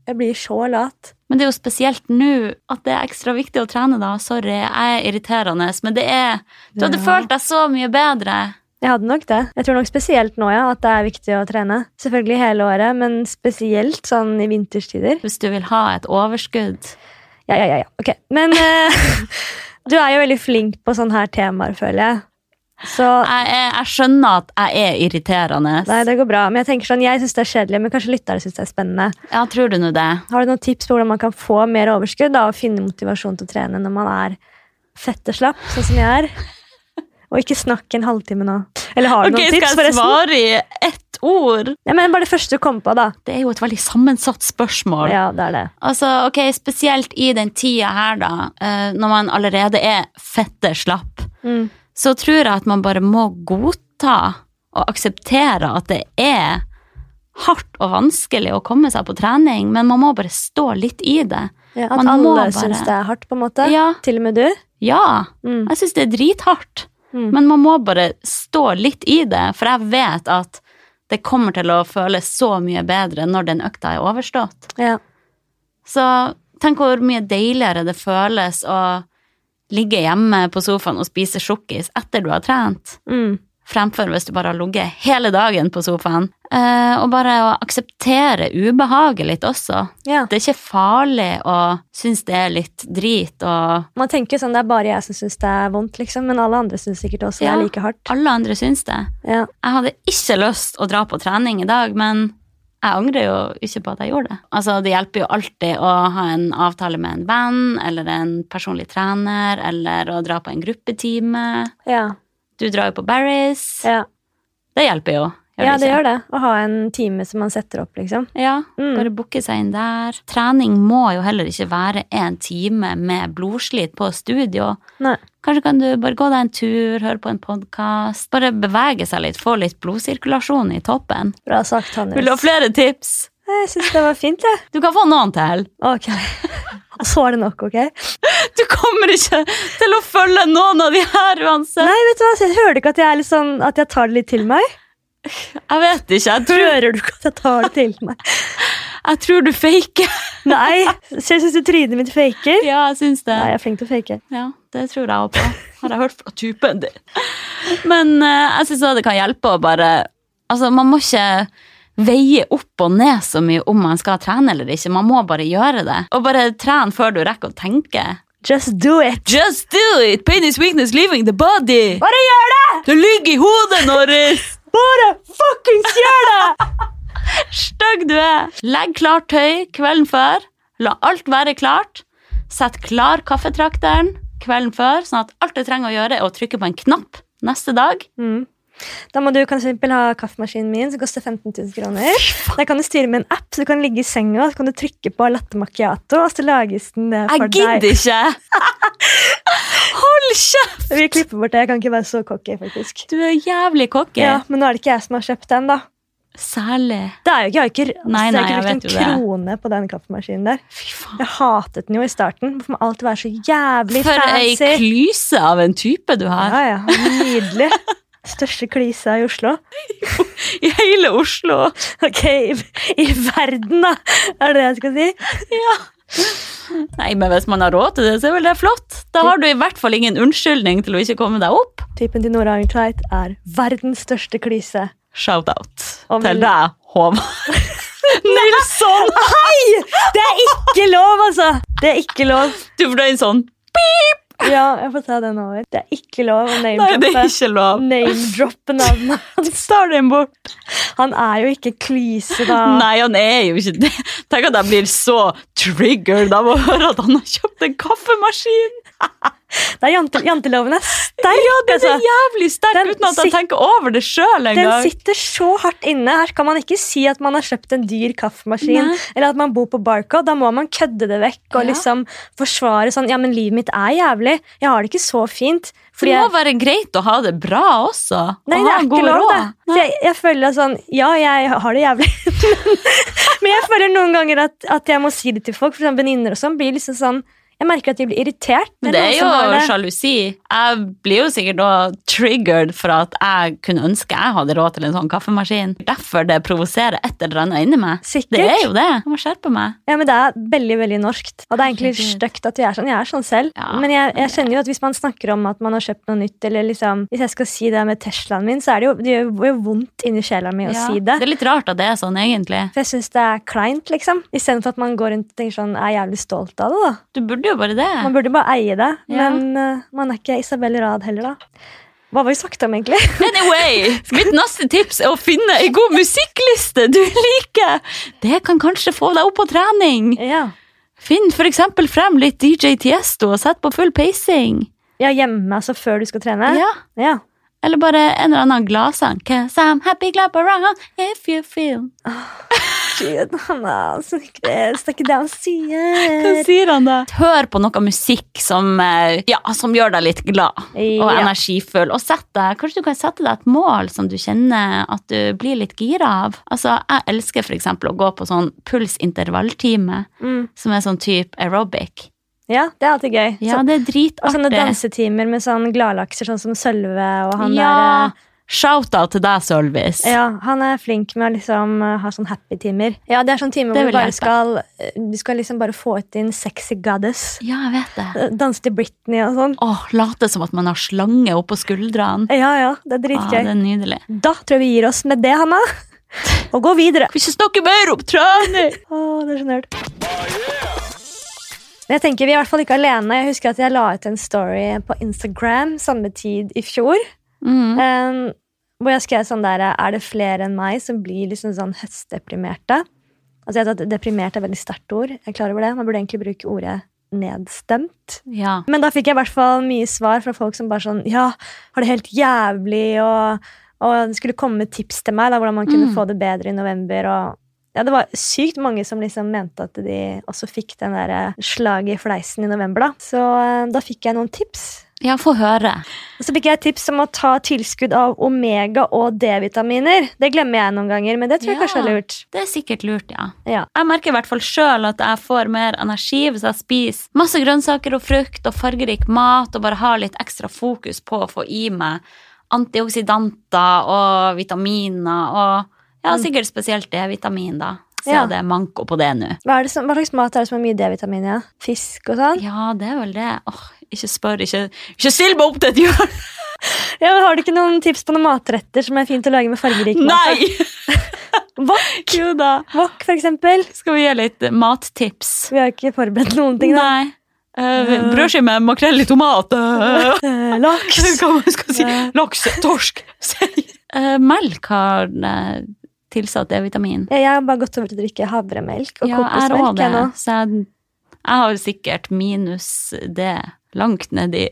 S2: Jeg blir så lat.
S1: Men det er jo spesielt nå at det er ekstra viktig å trene, da. Sorry, jeg er irriterende, men det er Du hadde
S2: Ja.
S1: følt deg så mye bedre.
S2: Jeg hadde nok det. Jeg tror nok spesielt nå, ja, at det er viktig å trene. Selvfølgelig hele året, men spesielt sånn i vinterstider.
S1: Hvis du vil ha et overskudd.
S2: Ja, ja, ja. ja. Ok. Men eh, du er jo veldig flink på sånne her temaer, føler jeg. Så
S1: Jeg, er, jeg skjønner at jeg er irriterende.
S2: Nei, det går bra. Men jeg tenker sånn, jeg syns det er kjedelig, men kanskje lytterne syns det er spennende.
S1: Ja, tror du nå det?
S2: Har du noen tips på hvordan man kan få mer overskudd da, og finne motivasjon til å trene når man er fett og slapp, sånn som jeg er? Og ikke snakk en halvtime nå. Eller har du
S1: Ok,
S2: noen tips,
S1: Skal jeg
S2: forresten?
S1: svare i ett ord?
S2: Ja, men bare det første du kom på, da.
S1: Det er jo et veldig sammensatt spørsmål.
S2: Ja, det er det.
S1: Altså, ok, Spesielt i den tida her, da, eh, når man allerede er fette slapp,
S2: Mm.
S1: så tror jeg at man bare må godta og akseptere at det er hardt og vanskelig å komme seg på trening, men man må bare stå litt i det.
S2: Ja, at
S1: Man må
S2: alle
S1: bare-
S2: syns det er hardt, på en måte.
S1: Ja.
S2: Til og med du.
S1: Ja,
S2: Mm.
S1: jeg syns det er drithardt,
S2: Mm.
S1: men man må bare stå litt i det, for jeg vet at det kommer til å føles så mye bedre når den økta er overstått.
S2: Ja.
S1: Så tenk hvor mye deiligere det føles å ligge hjemme på sofaen og spise sjokkis etter du har trent.
S2: Mm.
S1: fremfor hvis du bare har ligget hele dagen på sofaen. Eh, og bare å akseptere ubehaget litt også.
S2: ja.
S1: Det er ikke farlig å synes det er litt drit, og
S2: Man tenker sånn, det er bare jeg som syns det er vondt, liksom. Men alle andre syns sikkert også
S1: Ja.
S2: det er like hardt.
S1: alle andre synes det.
S2: Ja.
S1: Jeg hadde ikke lyst å dra på trening i dag, men jeg angrer jo ikke på at jeg gjorde det. Altså, det hjelper jo alltid å ha en avtale med en venn, eller en personlig trener, eller å dra på en gruppetime.
S2: Ja.
S1: Du drar jo på Barry's.
S2: Ja.
S1: Det hjelper jo.
S2: ja, det gjør det. Å ha en time som man setter opp, liksom.
S1: Ja,
S2: Mm.
S1: bare booke seg inn der. Trening må jo heller ikke være en time med blodslit på studio.
S2: Nei.
S1: Kanskje kan du bare gå deg en tur, høre på en podkast. Bare bevege seg litt, få litt blodsirkulasjon i toppen.
S2: Bra sagt, Hannes.
S1: Vil du ha flere tips?
S2: Nei, Jeg syns det var fint, jeg.
S1: Du kan få noen til.
S2: Ok. Og så er det nok, ok?
S1: Du kommer ikke til å følge noen av de her uansett.
S2: Nei, vet du hva, så jeg hører du ikke at jeg, er litt sånn, at jeg tar det litt til meg?
S1: Jeg vet ikke. Jeg tror,
S2: Hører du ikke at jeg tar det til meg?
S1: Jeg tror du faker.
S2: Nei, så jeg syns trynet mitt faker.
S1: Ja, jeg syns det.
S2: Nei, jeg er flink til å fake.
S1: Ja, det tror jeg òg på. Har jeg hørt fra typen din. Men eh, jeg syns også det kan hjelpe å bare Altså, man må ikke veie opp og ned så mye om man skal trene eller ikke. Man må bare gjøre det. Og bare trene før du rekker å tenke.
S2: Just do it.
S1: Just do it! Pain is weakness leaving the body!
S2: Bare gjør det!
S1: Det ligger i hodet, Norris!
S2: Bare fuckings gjør det!
S1: Stygg du er! Legg klart tøy kvelden før. La alt være klart. Sett klar kaffetrakteren kvelden før, sånn at alt du trenger å gjøre, er å trykke på en knapp neste dag.
S2: Mm. Da må du for eksempel ha kaffemaskinen min, som koster 15 000 kroner. Der kan du styre med en app, så du kan ligge i senga og så kan du trykke på latte macchiato, og så lages den eh, for
S1: Jeg gidder
S2: deg.
S1: ikke! Hold kjeft!
S2: Vi klipper bort det. Jeg kan ikke være så cocky, faktisk.
S1: Du er jævlig cocky.
S2: Ja, Men nå er det ikke jeg som har kjøpt den, da.
S1: Særlig.
S2: Det er jo ikke, Jeg har ikke, altså,
S1: Nei,
S2: jeg
S1: nei,
S2: har
S1: jeg
S2: ikke brukt
S1: vet jo
S2: en
S1: det.
S2: krone på den kaffemaskinen der.
S1: Fy faen.
S2: Jeg hatet den jo i starten. Hvorfor må alt være så jævlig
S1: For ei
S2: fancy?
S1: klyse av en type du har.
S2: Ja, ja, Nydelig. Største klisa i Oslo.
S1: I hele Oslo.
S2: Ok, i, i verden, da, er det det jeg skal si.
S1: Nei, men hvis man har råd til det, så er vel det flott. Da har du i hvert fall ingen unnskyldning til å ikke komme deg opp.
S2: Typen til Nora Arntveit er verdens største klise.
S1: Shout-out
S2: Og
S1: til
S2: min-
S1: deg, Håvard. Nilsson!
S2: Hei! Det er ikke lov, altså! Det er ikke lov.
S1: Du fløy en sånn
S2: Ja, jeg får ta den over. Det er ikke lov å
S1: Nei, det er
S2: name-droppe
S1: ikke lov.
S2: name-droppe navnet.
S1: Står den bort?
S2: Han er jo ikke klise, da.
S1: Nei, han er jo ikke det. Tenk at jeg blir så triggered av å høre at han har kjøpt en kaffemaskin.
S2: Det er jante, janteloven er sterk,
S1: Ja, den
S2: altså.
S1: er jævlig sterk
S2: Den
S1: uten at jeg
S2: sit-
S1: tenker over det sjøl
S2: Den
S1: engang.
S2: sitter så hardt inne. Her kan man ikke si at man har kjøpt en dyr kaffemaskin.
S1: Nei.
S2: Eller at man bor på Barcode. Da må man kødde det vekk og
S1: Ja.
S2: liksom forsvare sånn Ja, men livet mitt er jævlig. Jeg har det ikke så fint.
S1: Det
S2: Fordi
S1: må
S2: jeg,
S1: være greit å ha det bra også.
S2: nei,
S1: og
S2: det
S1: ha
S2: er ikke
S1: god
S2: lov, det.
S1: råd.
S2: Så jeg, jeg føler sånn Ja, jeg har det jævlig. men jeg føler noen ganger at, at jeg må si det til folk. For sånn venninner og sånn blir liksom sånn Jeg merker at de blir irritert. når
S1: Men det er
S2: noen
S1: jo
S2: som har det.
S1: sjalusi. Jeg blir jo sikkert da triggered for at jeg kunne ønske jeg hadde råd til en sånn kaffemaskin. Derfor det provoserer et eller annet inni meg.
S2: Sikkert.
S1: Det er jo det. Jeg må skjerpe meg.
S2: Ja, men Det er veldig veldig norskt. Og det er egentlig litt
S1: Herregud.
S2: stygt at vi er sånn. Jeg er sånn selv.
S1: Ja,
S2: men jeg, jeg kjenner jo at hvis man snakker om at man har kjøpt noe nytt, eller liksom Hvis jeg skal si det med Teslaen min, så er det jo, det gjør jo vondt inni sjela mi å
S1: Ja.
S2: si det.
S1: er litt rart at det er sånn, egentlig.
S2: For jeg syns det er kleint, liksom. Istedenfor at man går rundt og tenker sånn Jeg er jævlig stolt av det, da.
S1: Du burde jo bare det.
S2: Man burde bare eie det.
S1: Ja.
S2: Men eh, man er ikke Isabel Rad heller, da. Hva var vi snakket om, egentlig?
S1: Anyway, mitt neste tips er å finne ei god musikkliste du liker. Det kan kanskje få deg opp på trening.
S2: ja.
S1: Finn for eksempel frem litt DJ Tiesto og sett på full pacing.
S2: ja, hjemme, altså, før du skal trene?
S1: Ja.
S2: ja.
S1: Eller bare en eller annen gladsang. Cause I'm happy clap around oh, if you feel
S2: Gud, han er så ikke- Stakk det han
S1: Hva
S2: sier.
S1: sier han da? Hør på noe musikk som, eh, ja, som gjør deg litt glad og
S2: Ja.
S1: energifull. Og sett deg, kanskje du kan sette deg et mål som du kjenner at du blir litt gira av. Altså, jeg elsker for eksempel å gå på sånn pulsintervalltime,
S2: Mm.
S1: som er sånn type aerobic.
S2: Ja, det er alltid gøy.
S1: Ja, det er
S2: Og sånne
S1: dritartig.
S2: dansetimer med sånn gladlakser, sånn som Sølve og han
S1: Ja,
S2: der.
S1: shout-out til deg, Sølvis.
S2: eh, Ja, han er flink med å liksom eh, ha sånn happy-timer. Ja, det er sånn timer
S1: Det vil
S2: hvor du bare
S1: hjelpe.
S2: skal eh, Du skal liksom bare få ut din sexy goddess.
S1: Ja, jeg vet det.
S2: Eh, Danse til Britney og sånn.
S1: Åh, late som at man har slange oppå skuldrene.
S2: Ja, ja, det er
S1: Ah, det
S2: dritgøy.
S1: er nydelig.
S2: Da tror jeg vi gir oss med det, Hanna. Og går videre.
S1: Kan vi ikke snakke mer om trening?
S2: Å, det er så nerd. Men jeg tenker vi er i hvert fall ikke alene. Jeg husker at jeg la ut en story på Instagram samme tid i fjor.
S1: Mm.
S2: Um, hvor jeg skrev sånn der Er det flere enn meg som blir liksom sånn høstdeprimerte? Altså jeg vet at Deprimert er et veldig sterkt ord. Jeg er klar over det. Man burde egentlig bruke ordet nedstemt.
S1: Ja.
S2: Men da fikk jeg i hvert fall mye svar fra folk som bare sånn Ja, har det helt jævlig, og, og det skulle komme tips til meg da, hvordan man kunne
S1: Mm.
S2: få det bedre i november. og ja, Det var sykt mange som liksom mente at de også fikk den der slaget i fleisen i november. da. Så eh, da fikk jeg noen tips.
S1: ja, få høre.
S2: Og så fikk jeg tips om å ta tilskudd av omega- og D-vitaminer. Det glemmer jeg noen ganger, men det tror jeg
S1: Ja.
S2: kanskje er lurt.
S1: Det er sikkert lurt, ja.
S2: Ja.
S1: Jeg merker i hvert fall sjøl at jeg får mer energi hvis jeg spiser masse grønnsaker og frukt og fargerik mat og bare har litt ekstra fokus på å få i meg antioksidanter og vitaminer og Mm. ja, Mm. sikkert spesielt D-vitamin, da. så
S2: Ja.
S1: det er manko på det nå.
S2: Hva, er det som, hva slags mat er det som er mye D-vitamin i? Ja? Fisk og sånn?
S1: Ja, det er vel det. Åh, ikke spør. Ikke, ikke still meg opp til et hjørne!
S2: Ja, men Har du ikke noen tips på noen matretter som er fint å lage med fargerik mat?
S1: Nei!
S2: Wok,
S1: Jo da.
S2: wok, for eksempel.
S1: Skal vi gi litt eh, mattips?
S2: Vi har ikke forberedt noen ting. da.
S1: Nei. Uh, Brødskive med makrell i tomat. eh,
S2: Eh, Laks.
S1: hva man skal si.
S2: Eh.
S1: Laks, torsk, sei. Eh, melk har eh, tilsatt D-vitamin.
S2: Ja, jeg har bare gått over til å drikke havremelk og
S1: Ja, jeg er
S2: kokosmelk.
S1: også
S2: jeg nå.
S1: det. Så jeg, jeg har jo sikkert minus D langt nedi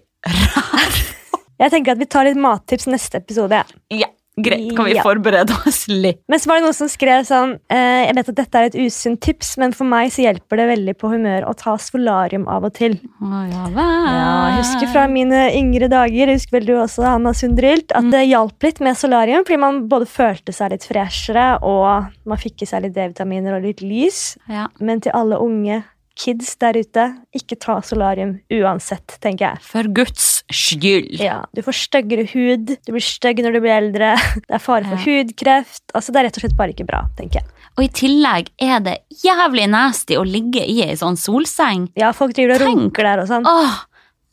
S2: Jeg tenker at Vi tar litt mattips neste episode. Ja.
S1: Ja, greit. Kan vi
S2: Ja.
S1: forberede oss litt?
S2: Men så var det noen som skrev sånn eh, Jeg vet at dette er et usunt tips, men for meg så hjelper det veldig på humøret å ta solarium av og til.
S1: Å,
S2: Ah.
S1: ja vel.
S2: Ja, jeg husker fra mine yngre dager, jeg husker vel du også, Hanna Sundrilt, at det hjalp litt med solarium, fordi man både følte seg litt freshere, og man fikk i seg litt D-vitaminer og litt lys.
S1: ja.
S2: Men til alle unge kids der ute, ikke ta solarium uansett, tenker jeg.
S1: For Guds skyld.
S2: Ja, Du får styggere hud, du blir stygg når du blir eldre, det er fare for hudkreft. Altså, Det er rett og slett bare ikke bra, tenker jeg.
S1: Og i tillegg er det jævlig nasty å ligge i ei sånn solseng.
S2: Ja, folk driver og
S1: Tenk.
S2: runker der og sånn.
S1: Åh,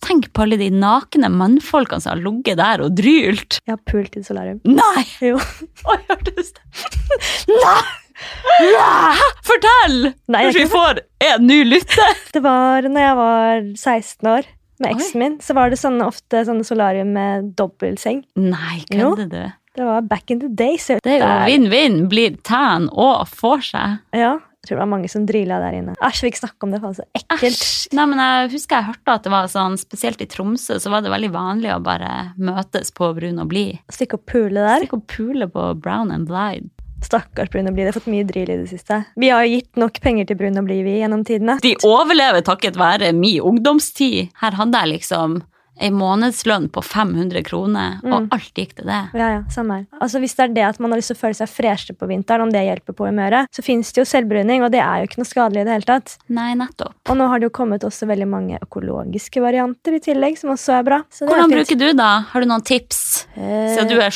S1: tenk på alle de nakne mannfolkene som har ligget der og drylt.
S2: Jeg har pult i solarium.
S1: Nei!
S2: Jo.
S1: Oi, hørtes det Nei! Hæ? Fortell!
S2: Nei, jeg
S1: Kanskje vi får en ny lytter?
S2: Det var når jeg var 16 år med eksen min, så var det sånne, ofte sånne solarium med dobbeltseng.
S1: Nei,
S2: Jo.
S1: kødder du?
S2: Det var back in the days. vet
S1: Det er jo
S2: du.
S1: vinn-vinn. Blir tan og får seg.
S2: Ja, jeg tror det var mange som drilla der inne. Æsj, vi vil ikke snakke om det, faen så ekkelt.
S1: Æsj. Nei, men jeg husker jeg hørte at det var sånn, spesielt i Tromsø, så var det veldig vanlig å bare møtes på Brun og Blid.
S2: Stikke og pule der.
S1: Stikk og pule på Brown and Blide.
S2: Stakkars Brun og Blid. Jeg har fått mye drill i det siste. Vi har jo gitt nok penger til Brun og Blid, vi, gjennom tidene.
S1: De overlever takket være min ungdomstid. Her hadde jeg liksom en månedslønn på 500 kroner,
S2: Mm.
S1: og alt gikk til det.
S2: Ja, ja, samme her. Altså, Hvis det er det at man har lyst til å føle seg freshere på vinteren, om det hjelper på humøret, så fins det jo selvbruning, og det er jo ikke noe skadelig i det hele tatt.
S1: Nei, nettopp.
S2: Og nå har det jo kommet også veldig mange økologiske varianter i tillegg, som også er bra. Så det er
S1: Hvordan
S2: fint. Eh.
S1: bruker du da? Har du noen tips? Siden du er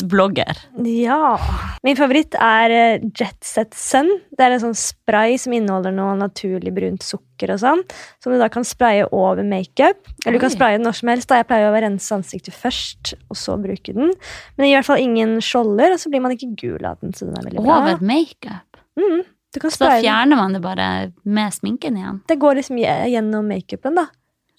S1: skjønnhetsblogger.
S2: Ja. Min favoritt er eh, Jet Set Sun. Det er en sånn spray som inneholder noe naturlig brunt sukker og sånn, som du da kan spraye over makeup. Eller du kan
S1: Oi.
S2: spraye den når som helst. Da jeg pleier jo å rense ansiktet først, og så bruke den. Men det gir i hvert fall ingen skjolder, og så blir man ikke gul av den. Så den er veldig bra.
S1: Over makeup.
S2: Mm, du kan
S1: Så da
S2: spraye den.
S1: fjerner man det bare med sminken igjen.
S2: Det går liksom gje- gjennom makeupen, da.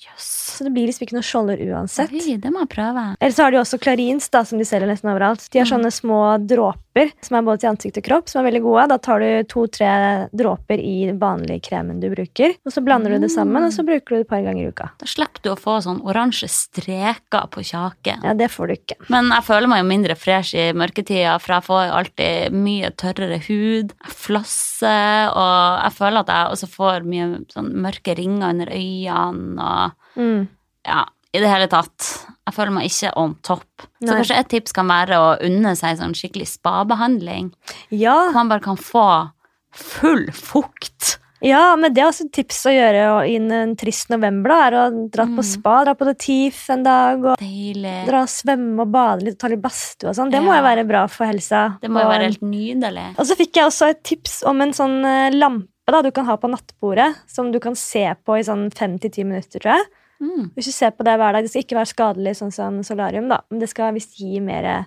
S1: Jøss.
S2: Så det blir liksom ikke noe skjolder uansett.
S1: Oi, det må jeg prøve.
S2: Eller så har de jo også Clarins, da, som de selger nesten overalt. De har
S1: Mhm.
S2: sånne små dråper som er både til ansikt og kropp, som er veldig gode. Da tar du to-tre dråper i den vanlige kremen du bruker, og så blander du det sammen,
S1: Mm.
S2: og så bruker du det et par ganger i uka.
S1: Da slipper du å få sånn oransje streker på kjaken.
S2: Ja, det får du ikke.
S1: Men jeg føler meg jo mindre fresh i mørketida, for jeg får jo alltid mye tørrere hud. Jeg flasser, og jeg føler at jeg også får mye sånn mørke ringer under øynene. og
S2: Mm.
S1: ja, I det hele tatt. Jeg føler meg ikke on top. Så
S2: Nei.
S1: kanskje et tips kan være å unne seg sånn skikkelig spabehandling.
S2: Ja,
S1: Hvor man bare kan få full fukt.
S2: ja, men det er også et tips å gjøre og i en- en trist november, da, er å dra
S1: Mm.
S2: på spa, dra på The Thief en dag, og
S1: Deilig.
S2: dra og svømme og bade litt, ta litt badstue og sånn. Det må
S1: Ja.
S2: jo være bra for helsa.
S1: Det må jo
S2: Og-
S1: være helt nydelig.
S2: Og så fikk jeg også et tips om en sånn eh, lampe da, du kan ha på nattbordet, som du kan se på i sånn fem til ti minutter, tror jeg.
S1: Mm.
S2: Hvis du ser på det hver dag, det skal ikke være skadelig sånn som solarium, da, men det skal visst gi mer eh,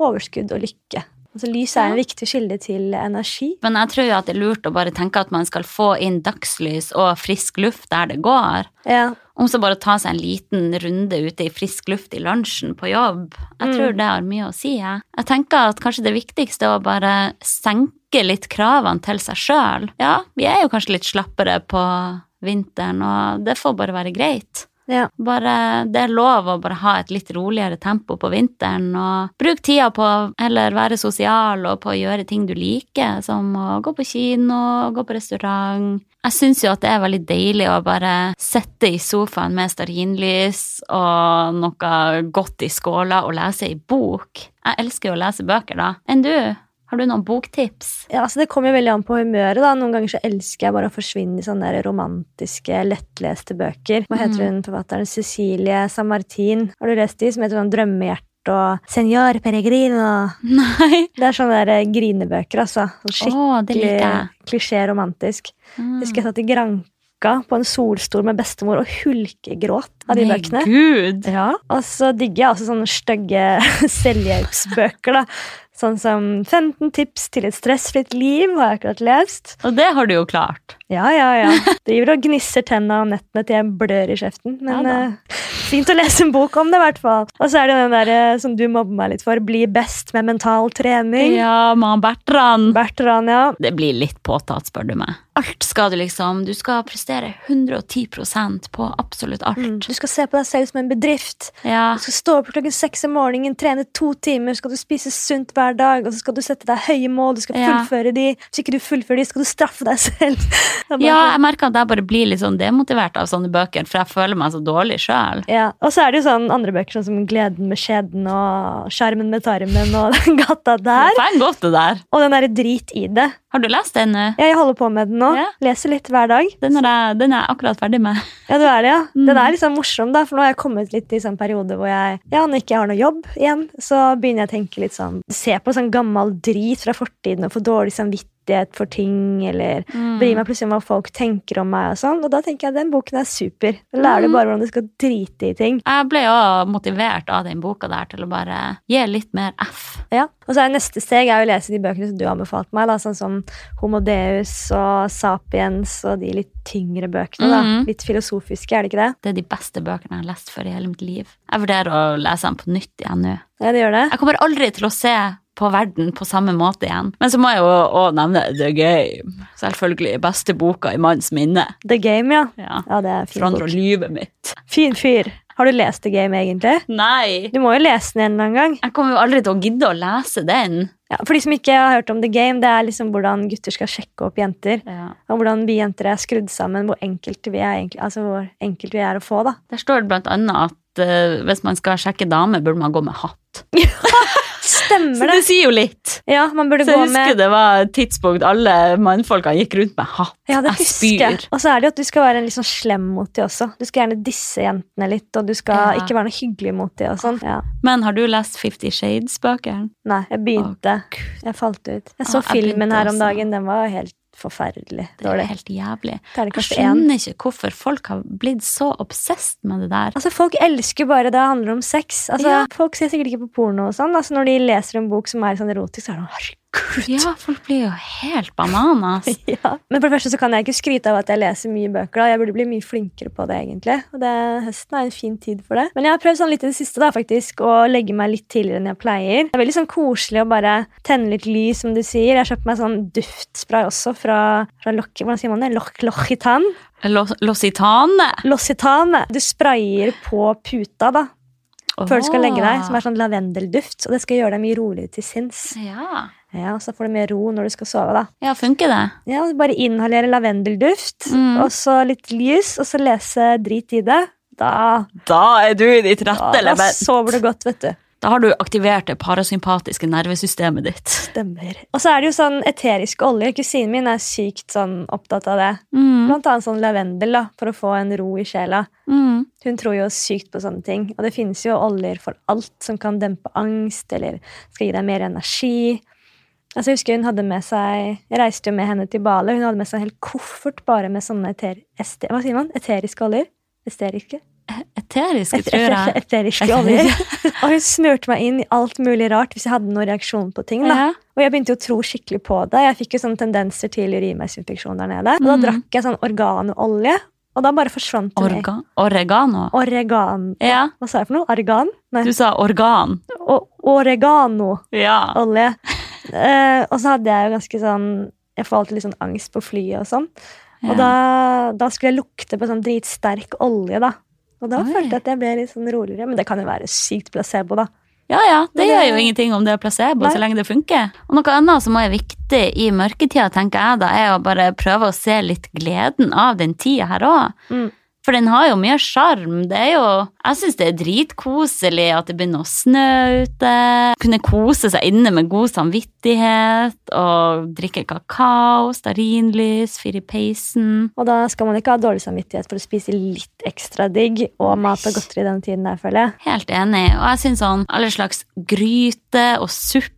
S2: overskudd og lykke. Altså, lys er en viktig kilde til energi.
S1: Men jeg tror jo at det er lurt å bare tenke at man skal få inn dagslys og frisk luft der det går.
S2: Ja.
S1: Om så bare ta seg en liten runde ute i frisk luft i lunsjen på jobb. Jeg
S2: Mm.
S1: tror det har mye å si, jeg. Jeg tenker at kanskje det viktigste er å bare senke litt kravene til seg sjøl. Ja, vi er jo kanskje litt slappere på vinteren, og det får bare være greit.
S2: Ja.
S1: Bare, det er lov å bare ha et litt roligere tempo på vinteren, og bruk tida på eller være sosial og på å gjøre ting du liker, som å gå på kino, gå på restaurant. Jeg syns jo at det er veldig deilig å bare sitte i sofaen med stearinlys og noe godt i skåla og lese ei bok. Jeg elsker jo å lese bøker, da. Enn du? Har du noen boktips?
S2: Ja, altså Det kommer jo veldig an på humøret. da. Noen ganger så elsker jeg bare å forsvinne i sånne der romantiske, lettleste bøker. Hva heter hun forfatteren? Cecilie Samartin. Har du lest de som heter sånn Drømmehjerte? og Senor Peregrino.
S1: Nei.
S2: Det er sånne der eh, grinebøker, altså. Sånn
S1: Å, det liker jeg. Mm.
S2: Skikkelig klisjé-romantisk. Jeg Husker jeg satt i Granka på en solstol med bestemor og hulkegråt av de
S1: Nei,
S2: bøkene.
S1: Gud.
S2: Ja, Og så digger jeg også sånne stygge selvhjelpsbøker. da. Sånn som 15 tips til et stressfritt liv har jeg akkurat lest.
S1: Og det har du jo klart.
S2: Ja, ja, ja. Driver og gnisser tenna om nettene til jeg blør i kjeften. Men
S1: Ja da.
S2: eh, fint å lese en bok om det, i hvert fall. Og så er det den der, eh, som du mobber meg litt for, Bli best med mental trening.
S1: Ja, man Bertrand.
S2: Bertrand, ja.
S1: Det blir litt påtatt, spør du meg. Alt skal du liksom. Du skal prestere 110 på absolutt
S2: Mm.
S1: alt.
S2: Du skal se på deg selv som en bedrift.
S1: Ja.
S2: Du skal stå opp klokken seks om morgenen, trene to timer, så skal du spise sunt hver dag, og så skal du sette deg høye mål, du skal
S1: Ja.
S2: fullføre de. Hvis ikke du fullfører de, skal du straffe deg selv. Det er bare
S1: ja,
S2: sånn-
S1: jeg merker at jeg bare blir litt sånn demotivert av sånne bøker, for jeg føler meg så dårlig sjøl.
S2: ja. Og så er det jo sånn andre bøker sånn som Gleden med skjeden og Sjarmen med tarmen og den gata der.
S1: Feng godt det der.
S2: Og den derre drit i det.
S1: Har du lest den? eh?
S2: Jeg holder på med den nå.
S1: Ja.
S2: Leser litt hver dag.
S1: Den er jeg, den er jeg akkurat ferdig med.
S2: Ja, du er det, ja.
S1: Mm.
S2: Den er liksom morsom, da, for nå har jeg kommet litt i sånn periode hvor jeg ja, når ikke jeg har noe jobb igjen, så begynner jeg å tenke litt sånn Se på sånn gammel drit fra fortiden og få dårlig samvittighet for ting, eller
S1: Mm.
S2: bry meg plutselig om hva folk tenker om meg og sånn. Og da tenker jeg den boken er super. Da
S1: Mm.
S2: lærer du bare hvordan du skal drite i ting.
S1: Jeg ble jo motivert av den boka der til å bare gi litt mer F.
S2: Ja. Og så er neste steg er jo å lese de bøkene som du har anbefalt meg, da, sånn som Homo Deus og Sapiens og de litt tyngre bøkene, da.
S1: Mhm.
S2: Litt filosofiske, er det ikke det?
S1: Det er de beste bøkene jeg har lest for i hele mitt liv. Jeg vurderer å lese den på nytt igjen nå.
S2: Ja, det gjør det.
S1: Jeg kommer aldri til å se på verden på samme måte igjen. Men så må jeg jo også nevne The Game. Selvfølgelig beste boka i manns minne.
S2: The Game, ja.
S1: Ja.
S2: Ja, det er en fin
S1: Forandra
S2: bok.
S1: livet mitt.
S2: Fin fyr. Har du lest The Game, egentlig?
S1: Nei!
S2: Du må jo lese den en eller annen gang.
S1: Jeg kommer jo aldri til å gidde å lese den.
S2: Ja, for de som ikke har hørt om The Game, det er liksom hvordan gutter skal sjekke opp jenter. Og hvordan vi jenter er skrudd sammen, hvor enkelt vi er, egentlig, altså hvor enkelt vi er å få. da.
S1: Der står det blant annet at eh, hvis man skal sjekke dame, burde man gå med hatt. Så
S2: Stemmer det!
S1: det sier jo litt.
S2: Ja, man burde
S1: Så jeg
S2: gå
S1: husker
S2: med
S1: det var et tidspunkt alle mannfolka gikk rundt med hatt.
S2: ja, det
S1: jeg
S2: husker jeg. Og så er det jo at du skal være en litt sånn slem mot dem også. Du skal gjerne disse jentene litt, og du skal
S1: Ja.
S2: ikke være noe hyggelig mot dem. og sånn. Ja.
S1: Men har du lest Fifty Shades-bøkene?
S2: Nei, jeg begynte. Jeg falt ut. Jeg
S1: Ja,
S2: så
S1: jeg
S2: filmen
S1: begynte
S2: her om
S1: også.
S2: dagen. Den var jo helt forferdelig
S1: Det er
S2: dårlig.
S1: jo helt jævlig. Jeg
S2: Terningkast én.
S1: skjønner ikke hvorfor folk har blitt så obsessed med det der.
S2: Altså, Folk elsker bare det handler om sex. Altså,
S1: Ja.
S2: Folk ser sikkert ikke på porno. og sånn. Altså, Når de leser en bok som er sånn erotisk, så er det sånn herregud.
S1: Ja, folk blir jo helt bananas.
S2: Ja. Men for det første så kan jeg ikke skryte av at jeg leser mye bøker. da. Jeg burde bli mye flinkere på det, egentlig. Og det, Høsten er en fin tid for det. Men jeg har prøvd sånn litt i det siste da, faktisk, å legge meg litt tidligere enn jeg pleier. Det er veldig sånn koselig å bare tenne litt lys, som du sier. Jeg kjøpte meg sånn duftspray også fra, fra Lock... Hvordan sier man det? Lock Lochitan?
S1: Los- Lositane.
S2: Lossitan. Du sprayer på puta, da. før du skal legge
S1: Ah.
S2: deg, som er sånn lavendelduft. Og det skal gjøre deg mye roligere til sinns.
S1: Ja.
S2: Ja, og Så får du mer ro når du skal sove. da.
S1: ja, funker det?
S2: Ja, og Bare inhalere lavendelduft,
S1: Mm.
S2: og så litt lys, og så lese drit i det. Da,
S1: Da er du i ditt
S2: da, da sover du godt, vet du.
S1: Da har du aktivert det parasympatiske nervesystemet ditt.
S2: Stemmer. Og så er det jo sånn eterisk olje. Kusinen min er sykt sånn opptatt av det. Blant annet sånn lavendel, da, for å få en ro i sjela.
S1: Mm.
S2: Hun tror jo sykt på sånne ting. Og det finnes jo oljer for alt som kan dempe angst, eller skal gi deg mer energi. Altså, jeg husker hun hadde med seg, jeg reiste jo med henne til Bali. Hun hadde med seg en hel koffert bare med sånne eter, este, hva sier man? eteriske oljer. Esteriske?
S1: Eteriske,
S2: Et,
S1: tror jeg.
S2: eteriske oljer. Og hun smurte meg inn i alt mulig rart hvis jeg hadde noen reaksjon på ting. da.
S1: Ja.
S2: Og jeg begynte jo å tro skikkelig på det. Jeg fikk jo sånne tendenser til urinveisinfeksjon der nede. Og da
S1: Mm.
S2: drakk jeg sånn organolje, og da bare forsvant hun. i.
S1: Orga oregano.
S2: Oregan.
S1: Ja,
S2: Hva sa jeg for noe? Argan? Nei,
S1: du sa organ.
S2: o- oregano-olje.
S1: Ja.
S2: Eh, og så hadde jeg jo ganske sånn Jeg får alltid litt sånn angst på flyet og sånn. Og da,
S1: Ja.
S2: da skulle jeg lukte på sånn dritsterk olje, da. Og da
S1: Oi.
S2: følte jeg at jeg ble litt sånn roligere. Men det kan jo være sykt placebo, da.
S1: Ja, ja, det
S2: Men det-
S1: gjør jo ingenting om det er placebo,
S2: Nei.
S1: så lenge det funker. Og noe annet som også er viktig i mørketida, tenker jeg da, er å bare prøve å se litt gleden av den tida her òg.
S2: Mm.
S1: For den har jo mye sjarm. Det er jo Jeg syns det er dritkoselig at det begynner å snø ute. Kunne kose seg inne med god samvittighet og drikke kakao, stearinlys, fyre i peisen.
S2: Og da skal man ikke ha dårlig samvittighet for å spise litt ekstra digg og mat og godteri denne tiden der, føler jeg.
S1: Helt enig. Og jeg syns sånn alle slags gryte og suppe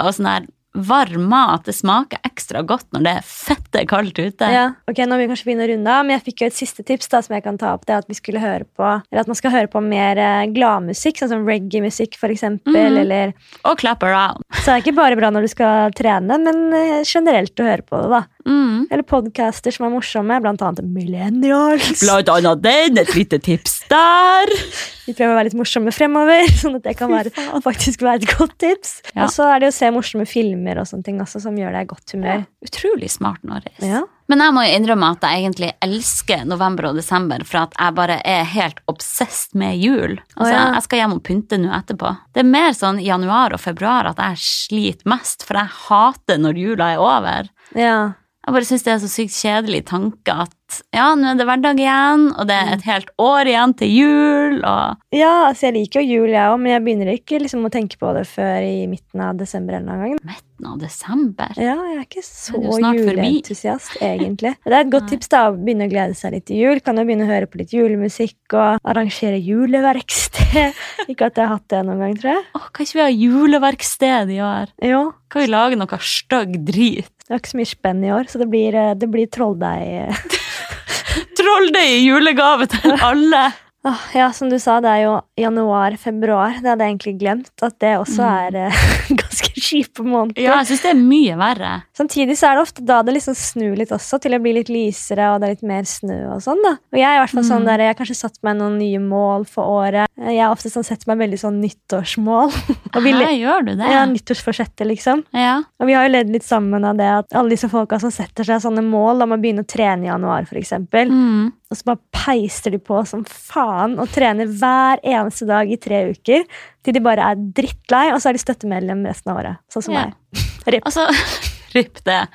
S1: og sånn der varm mat, det smaker ekstra godt når det er fette kaldt ute.
S2: Ja. Ok, nå vil vi kanskje begynne å runde av, men jeg fikk jo et siste tips da, som jeg kan ta opp. Det er at vi skulle høre på, eller at man skal høre på mer eh, gladmusikk, sånn som reggae-musikk for eksempel,
S1: Mhm.
S2: eller
S1: Og clap around.
S2: Så det er ikke bare bra når du skal trene, men eh, generelt å høre på det, da.
S1: Mm.
S2: Eller podcaster som er morsomme, blant annet Millennials.
S1: Blant annet den, et lite tips der.
S2: Vi prøver å være litt morsomme fremover, sånn at det kan være, faktisk være et godt tips.
S1: Ja.
S2: Og så er det å se morsomme filmer og sånne ting også, som gjør deg i godt humør.
S1: Utrolig smart, Norris.
S2: Ja.
S1: Men jeg må jo innrømme at jeg egentlig elsker november og desember for at jeg bare er helt obsessed med jul. Altså,
S2: Å, ja.
S1: Jeg skal hjem og pynte nå etterpå. Det er mer sånn i januar og februar at jeg sliter mest, for jeg hater når jula er over.
S2: ja.
S1: Jeg bare syns det er så sykt kjedelig tanke at ja, nå er det hverdag igjen, og det
S2: Mm.
S1: er et helt år igjen til jul, og
S2: Ja, altså jeg liker jo jul jeg òg, men jeg begynner ikke liksom å tenke på det før i midten av desember. eller noen gang.
S1: midten av desember.
S2: Ja, jeg er ikke så
S1: Det er jo snart forbi.
S2: juleentusiast, egentlig. Men Det er et godt
S1: Nei.
S2: tips da, å begynne å glede seg litt til jul. Kan jo begynne å høre på litt julemusikk og arrangere juleverksted. ikke at jeg har hatt det noen gang, tror jeg.
S1: Å, kan ikke vi ha juleverksted i år?
S2: Jo,
S1: Kan vi lage noe stygg drit?
S2: det var ikke så mye spenn i år, så det blir, eh, det blir trolldeig.
S1: Trolldeig i julegave til alle!
S2: Åh, Ah, ja, som du sa, det er jo januar-februar. Det hadde jeg egentlig glemt. At det også er eh, ganske kjipe måneder.
S1: Mm. Ja, jeg syns det er mye verre.
S2: Samtidig så er det ofte da det liksom snur litt også, til det blir litt lysere og det er litt mer snø og sånn. da. Og Jeg er i hvert fall sånn
S1: Mm.
S2: der, jeg har kanskje satt meg noen nye mål for året. Jeg har ofte sånn sett meg veldig sånn nyttårsmål. og vi,
S1: Hæ,
S2: le-
S1: gjør du det?
S2: ja, nyttårsforsettet, liksom.
S1: Ja.
S2: Og vi har jo ledd litt sammen av det at alle disse folka som setter seg sånne mål om å begynne å trene i januar, for eksempel,
S1: Mm.
S2: og så bare peiser de på som faen og trener hver eneste dag i tre uker til de bare er drittlei, og så er de støttemedlem resten av året. Sånn som
S1: Ja.
S2: meg.
S1: Altså, ripp det.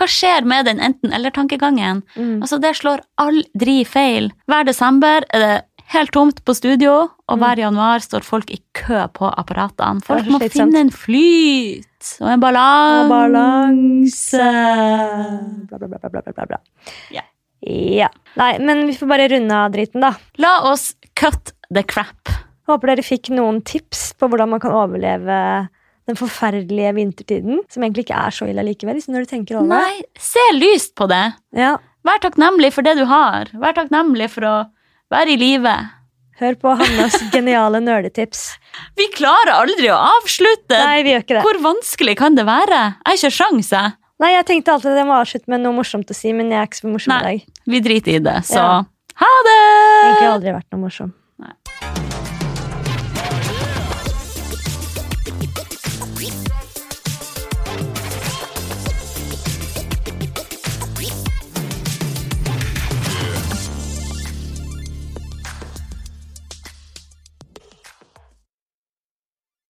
S1: Hva skjer med den enten-eller-tankegangen?
S2: Mm.
S1: Altså, det slår aldri feil. Hver desember er det helt tomt på studio, og hver januar står folk i kø på apparatene.
S2: Mm. Det
S1: Folk
S2: er så
S1: må
S2: slitsomt.
S1: finne en flyt og en
S2: Og
S1: balanse.
S2: balanse Bla, bla, bla, bla, bla, bla, bla.
S1: Eh, Ja.
S2: ja. Nei, men vi får bare runde av driten, da.
S1: La oss cut the crap.
S2: Håper dere fikk noen tips på hvordan man kan overleve den forferdelige vintertiden, som egentlig ikke er så ille likevel, liksom når du tenker over det.
S1: Nei, se lyst på det.
S2: Ja.
S1: Vær takknemlig for det du har. Vær takknemlig for å være i live.
S2: Hør på Hannas geniale nerdetips.
S1: Vi klarer aldri å avslutte.
S2: Nei, vi gjør ikke det.
S1: Hvor vanskelig kan det være? Jeg har ikke sjans, jeg.
S2: Nei, jeg tenkte alltid at jeg må avslutte med noe morsomt å si, men jeg er ikke så morsom i
S1: Nei.
S2: dag.
S1: Vi driter i det, så
S2: Ja.
S1: ha det!
S2: Egentlig har jeg aldri vært noe morsom.